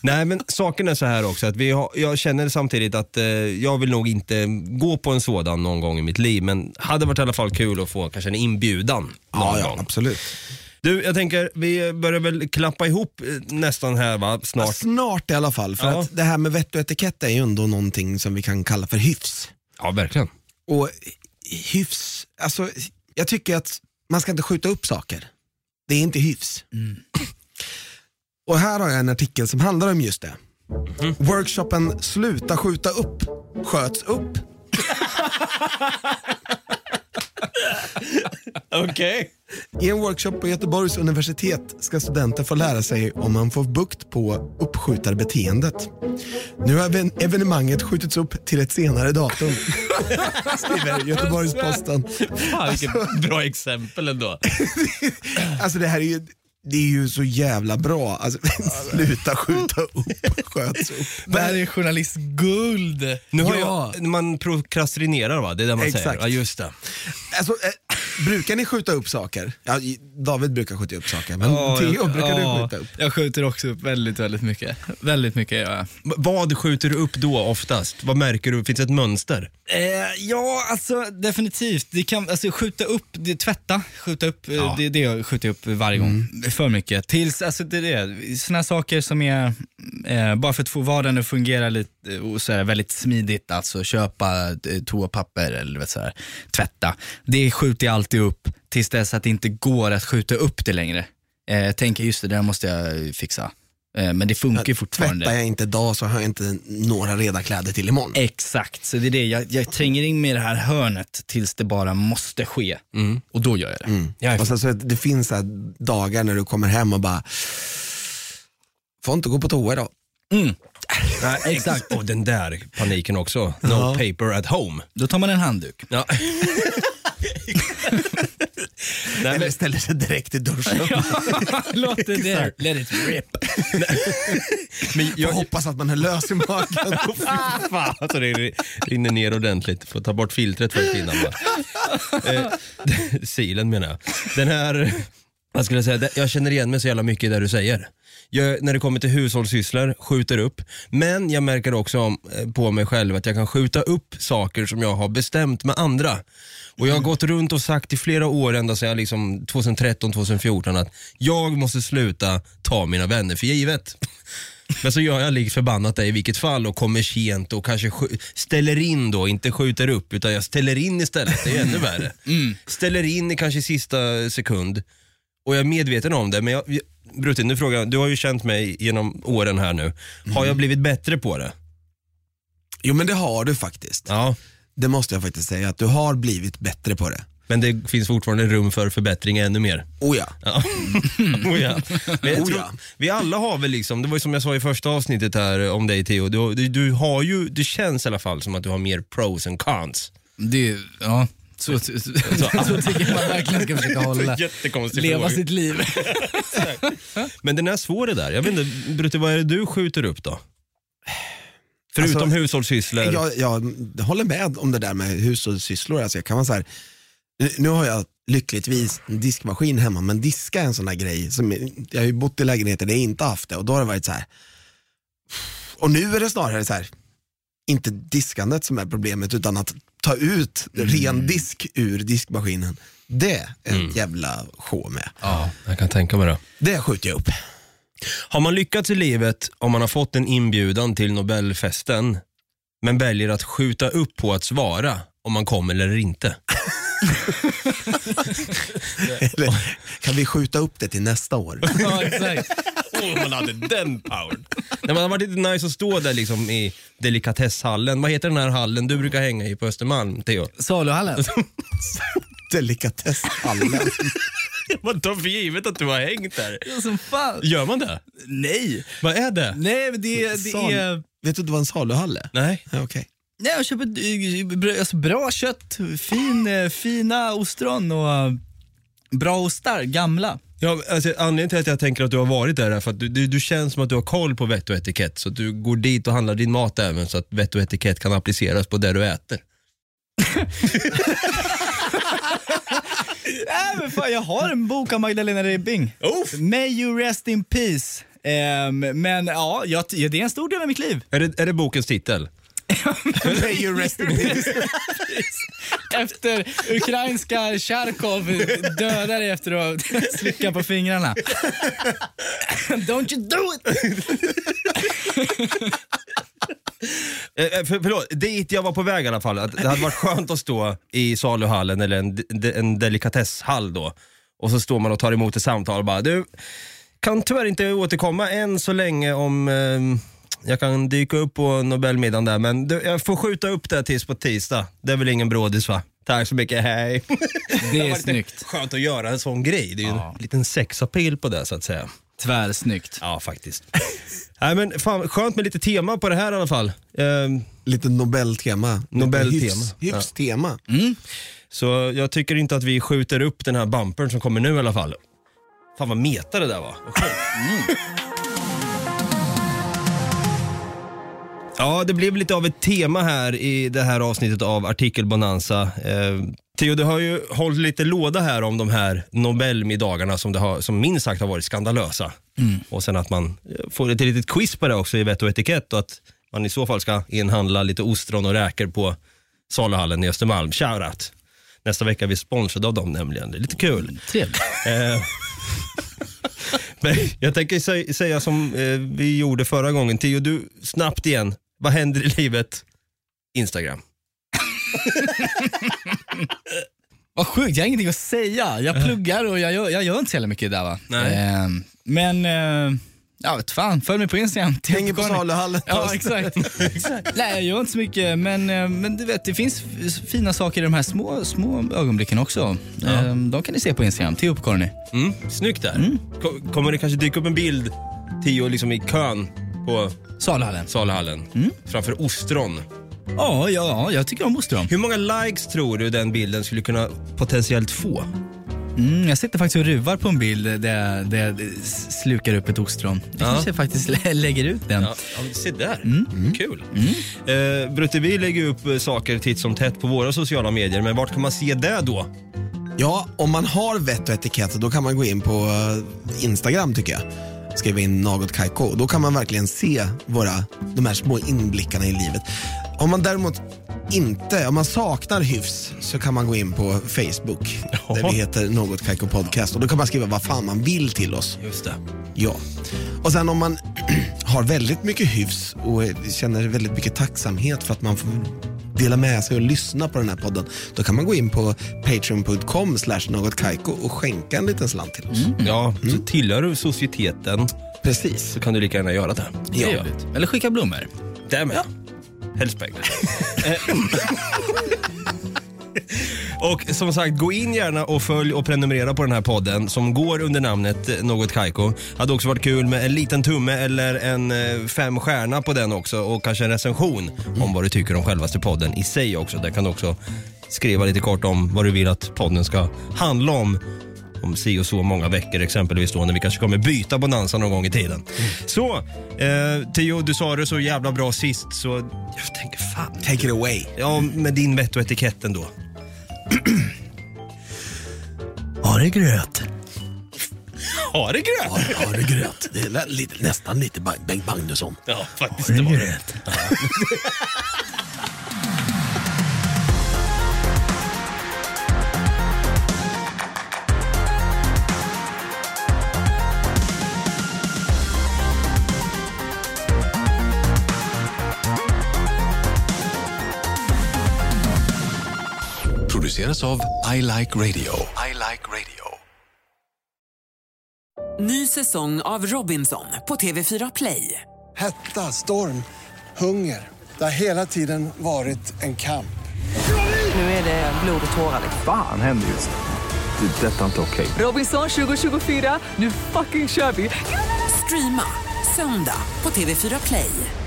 Speaker 1: Nej men saken är så här också att vi har, jag känner samtidigt att eh, jag vill nog inte gå på en sådan någon gång i mitt liv men hade varit i alla fall kul att få kanske en inbjudan någon
Speaker 4: Ja, ja,
Speaker 1: gång.
Speaker 4: absolut.
Speaker 1: Du jag tänker vi börjar väl klappa ihop eh, nästan här va, snart.
Speaker 4: Snart i alla fall, för
Speaker 1: Ja.
Speaker 4: att det här med vett och etikett är ju ändå någonting som vi kan kalla för hyfs.
Speaker 1: Ja verkligen.
Speaker 4: Och hyfs, alltså jag tycker att man ska inte skjuta upp saker. Det är inte hyfs. Och här har jag en artikel som handlar om just det. Workshopen Sluta skjuta upp sköts upp.
Speaker 1: Okej.
Speaker 4: I en workshop på Göteborgs universitet ska studenter få lära sig om man får bukt på uppskjutarbeteendet. Nu har even- evenemanget skjutits upp till ett senare datum, skriver Göteborgs-Posten.
Speaker 1: Fan vilket bra exempel ändå.
Speaker 4: Alltså det här är ju, det är ju så jävla bra. Alltså, sluta skjuta upp, sköts upp.
Speaker 2: Det här är journalistguld.
Speaker 1: Nu har
Speaker 2: ja.
Speaker 1: jag, man prokrastinerar va, det är det man säger.
Speaker 4: Exakt.
Speaker 1: Ja just det.
Speaker 4: Alltså, eh, brukar ni skjuta upp saker? Ja, David brukar skjuta upp saker, men
Speaker 2: Ja, jag-
Speaker 4: Theo, brukar
Speaker 2: ja,
Speaker 4: du skjuta upp?
Speaker 2: Jag skjuter också upp väldigt, väldigt mycket. Väldigt mycket gör jag.
Speaker 1: B- Vad skjuter du upp då oftast? Vad märker du? Finns det ett mönster?
Speaker 2: Eh, ja, alltså definitivt. Det kan, alltså, skjuta upp, det, tvätta, skjuta upp, eh, det, det jag skjuter jag upp varje gång. För mycket. Tills, alltså det är det. Sådana saker som är, eh, bara för att få vardagen att fungera lite, eh, och så här, väldigt smidigt, alltså köpa eh, toapapper eller du vet, så här, tvätta. Det skjuter jag alltid upp tills dess att det inte går att skjuta upp det längre. Eh, jag tänker just det, där måste jag fixa. Eh, men det funkar ju fortfarande.
Speaker 4: Tvättar jag inte idag så har jag inte några reda kläder till imorgon.
Speaker 2: Exakt, så det är det. Jag, jag tränger in mig i det här hörnet tills det bara måste ske.
Speaker 1: Mm.
Speaker 2: Och då gör jag det.
Speaker 4: Och sen så det finns så här dagar när du kommer hem och bara, får inte gå på toa idag.
Speaker 2: Mm.
Speaker 1: Nej, exakt. Och den där paniken också. No paper at home.
Speaker 2: Då tar man en handduk. [laughs]
Speaker 1: Ja. Nej, men,
Speaker 4: ställer sig direkt i duschen.
Speaker 2: [laughs] Låt det där. Let it rip.
Speaker 1: [laughs] men
Speaker 4: Jag
Speaker 1: jag,
Speaker 4: hoppas att man är lös i magen.
Speaker 1: fan, alltså det rinner ner ordentligt. Får ta bort filtret först innan bara. Eh, [laughs] silen menar jag. Den här, vad skulle jag säga, det- jag känner igen mig så jävla mycket i det du säger. Jag, när det kommer till hushållssysslor, skjuter upp. Men jag märker också om, eh, på mig själv att jag kan skjuta upp saker som jag har bestämt med andra. Och jag har gått runt och sagt i flera år, ända sedan jag liksom 2013, 2014 att jag måste sluta ta mina vänner för givet. Men så gör jag likt förbannat det i vilket fall och kommer sent och kanske skj- ställer in då, inte skjuter upp utan jag ställer in istället, det är ju
Speaker 4: [laughs]
Speaker 1: ännu värre.
Speaker 4: Mm.
Speaker 1: Ställer in i kanske sista sekund och jag är medveten om det men jag, jag- Brutin, nu frågar jag, du har ju känt mig genom åren här nu. Har
Speaker 4: Mm.
Speaker 1: jag blivit bättre på det?
Speaker 4: Jo men det har du faktiskt.
Speaker 1: Ja.
Speaker 4: Det måste jag faktiskt säga, att du har blivit bättre på det.
Speaker 1: Men det finns fortfarande rum för förbättring ännu mer.
Speaker 4: Oh ja.
Speaker 1: Ja. [laughs] oh
Speaker 4: [laughs]
Speaker 1: ja. Men jag
Speaker 4: Mm. Oh
Speaker 1: tror,
Speaker 4: ja.
Speaker 1: vi alla har väl liksom, det var ju som jag sa i första avsnittet här om dig Theo, du, du, du har ju, det känns i alla fall som att du har mer pros and cons.
Speaker 2: Det är, ja. Så, så, så, [laughs] så tycker jag man verkligen
Speaker 1: [laughs]
Speaker 2: ska försöka hålla.
Speaker 1: Jättekonstig
Speaker 2: Leva
Speaker 1: fråga. [laughs]
Speaker 2: sitt liv.
Speaker 1: Men den är svår det där. Jag vet inte, Brutte, vad är det du skjuter upp då? Förutom
Speaker 4: Alltså,
Speaker 1: hushållssysslor.
Speaker 4: Jag, jag håller med om det där med hushållssysslor. Alltså jag kan vara så här, nu, nu har jag lyckligtvis en diskmaskin hemma, men diska är en sån där grej. Som, jag har ju bott i lägenheter där jag inte haft det och då har det varit så här. Och nu är det snarare så här, inte diskandet som är problemet utan att ta ut ren disk ur diskmaskinen. Det är ett jävla sjå med.
Speaker 1: Ja, jag kan tänka mig det.
Speaker 4: Det skjuter jag upp.
Speaker 1: Har man lyckats i livet om man har fått en inbjudan till Nobelfesten men väljer att skjuta upp på att svara om man kommer eller inte?
Speaker 4: Eller, kan vi skjuta upp det till nästa år?
Speaker 2: [laughs] Ja, exakt.
Speaker 1: Åh, man hade den powern. Nej, man har varit lite nice att stå där liksom i delikatesshallen. Vad heter den här hallen du brukar hänga i på Östermalm, Theo?
Speaker 2: Saluhallen.
Speaker 4: Delikatesshallen.
Speaker 1: Man tar för givet att du har hängt där.
Speaker 2: Som fan.
Speaker 1: Gör man det?
Speaker 2: Nej.
Speaker 1: Vad är det?
Speaker 2: Nej, men det, det
Speaker 4: Sal-
Speaker 2: är...
Speaker 4: Vet du att det var en saluhalle?
Speaker 1: Nej.
Speaker 4: Ja, Okej.
Speaker 2: Nej, jag köper eh, bra- alltså, bra kött, fin, eh, fina ostron och eh, bra ostar, gamla.
Speaker 1: Ja, alltså, anledningen till att jag tänker att du har varit där är för att du, du, du känns som att du har koll på vett och etikett. Så att du går dit och handlar din mat även så att vett och etikett kan appliceras på det du äter.
Speaker 2: Nej men fan, jag har en bok av Magdalena Ribbing.
Speaker 1: Oof.
Speaker 2: May you rest in peace. Ehm, men ja, jag, ja, det är en stor del av mitt liv.
Speaker 1: Är det, är det bokens titel?
Speaker 4: May you rest in peace.
Speaker 2: Efter ukrainska Charkov dödar dig efter att ha [laughs] slickat på fingrarna. [laughs] Don't you do it!
Speaker 1: Eh, eh, för, förlåt, dit jag var på väg i alla fall. Att det hade varit skönt att stå i saluhallen eller en, de, en delikatesshall då. Och så står man och tar emot ett samtal och bara du, kan tyvärr inte återkomma än så länge om ehm, jag kan dyka upp på Nobelmiddagen där men du, jag får skjuta upp det tills på tisdag. Det är väl ingen brådis va? Tack så mycket, [laughs] hej.
Speaker 2: Det är
Speaker 1: var lite
Speaker 2: snyggt.
Speaker 1: Skönt att göra en sån grej. Det är ju en liten sexapil på det så att säga.
Speaker 2: Tvärsnyggt.
Speaker 1: Ja, faktiskt. [laughs] Nej men fan, skönt med lite tema på det här i alla fall. Ehm,
Speaker 4: Lite Nobeltema.
Speaker 1: Nobeltema.
Speaker 4: Hyfs, hyfstema.
Speaker 1: Så jag tycker inte att vi skjuter upp den här bumpern som kommer nu i alla fall. Fan vad meta det där var. Vad Mm. sjukt. Ja, det blev lite av ett tema här i det här avsnittet av Artikelbonanza. Eh, Theo, du har ju hållit lite låda här om de här Nobelmiddagarna som, det har, som minst sagt har varit skandalösa. Och sen att man eh, får ett litet quiz på det också i vett och etikett och att man i så fall ska inhandla lite ostron och räkor på saluhallen i Östermalm. Shoutout! Nästa vecka är vi sponsrade av dem nämligen. Det är lite kul.
Speaker 2: Trevligt.
Speaker 1: Eh, Men jag tänker sä- säga som eh, vi gjorde förra gången. Theo, du, snabbt igen. Vad händer i livet? Instagram.
Speaker 2: Vad sjukt, jag har ingenting att säga. Jag pluggar och jag gör, jag gör inte så jävla mycket där va.
Speaker 1: Nej.
Speaker 2: Ehm, men, eh, ja vet fan, följ mig på Instagram.
Speaker 4: Hänger på saluhallen.
Speaker 2: Ja, exakt. Nej, jag gör inte så mycket, men, eh, men du vet, det finns f- fina saker i de här små, små ögonblicken också. Ehm, De kan ni se på Instagram, Theo på Corny.
Speaker 4: Mm.
Speaker 1: Mm, snyggt där. Ko- Kommer det kanske dyka upp en bild tio liksom i kön på
Speaker 2: Salhallen.
Speaker 1: Salhallen
Speaker 4: Mm.
Speaker 1: framför ostron.
Speaker 2: Ja, ja, jag tycker om ostron.
Speaker 1: Hur många likes tror du den bilden skulle kunna potentiellt få?
Speaker 2: Mm, jag sitter faktiskt och ruvar på en bild där jag, där jag slukar upp ett ostron. Jag kanske faktiskt lä- lägger ut den.
Speaker 1: Ja, ja, se där. Mm. Kul. Mm. Brutte, vi lägger ju upp eh, saker titt som tätt på våra sociala medier, men vart kan man se det då?
Speaker 4: Ja, om man har vett och etikett då kan man gå in på eh, Instagram tycker jag. Skriva in något kajko. Då kan man verkligen se våra, de här små inblickarna i livet. Om man däremot inte, om man saknar hyfs så kan man gå in på Facebook där vi heter Något Kaiko Podcast och då kan man skriva vad fan man vill till oss.
Speaker 1: Just det.
Speaker 4: Ja. Och sen om man [clears throat] har väldigt mycket hyfs och känner väldigt mycket tacksamhet för att man får dela med sig och lyssna på den här podden, då kan man gå in på patreon.com slash något kaiko och skänka en liten slant till oss.
Speaker 1: Ja, så tillhör du societeten
Speaker 4: Precis.
Speaker 1: så kan du lika gärna göra det.
Speaker 4: Ja.
Speaker 2: Trevligt. Eller skicka blommor.
Speaker 1: Det med. Helst pengar. Och som sagt, gå in gärna och följ och prenumerera på den här podden som går under namnet eh, Något Kaiko. Hade också varit kul med en liten tumme eller en eh, fem stjärna på den också och kanske en recension om vad du tycker om självaste podden i sig också. Där kan du också skriva lite kort om vad du vill att podden ska handla om. Om si och så många veckor exempelvis då när vi kanske kommer byta bonanza någon gång i tiden.
Speaker 4: Mm.
Speaker 1: Så, eh, Theo, du sa det så jävla bra sist så jag tänker fan.
Speaker 4: Take it away.
Speaker 1: Ja, med din vett och etiketten då.
Speaker 2: Har det gröt?
Speaker 1: Har det gröt?
Speaker 4: Har du gröt? Det är lite, nästan lite Bengt Magnusson.
Speaker 1: Ja, faktiskt.
Speaker 2: Har
Speaker 1: Det
Speaker 2: det
Speaker 1: var det.
Speaker 2: gröt?
Speaker 8: Produceras av I Like Radio. I like radio.
Speaker 5: Ny säsong av Robinson på TV4 Play.
Speaker 3: Hetta, storm, hunger. Det har hela tiden varit en kamp.
Speaker 5: Nu är det blod och tårar. liksom.
Speaker 9: Fan händer just det. Det är detta inte okej.
Speaker 5: Robinson 2024, nu fucking kör vi! Streama söndag på TV4 Play.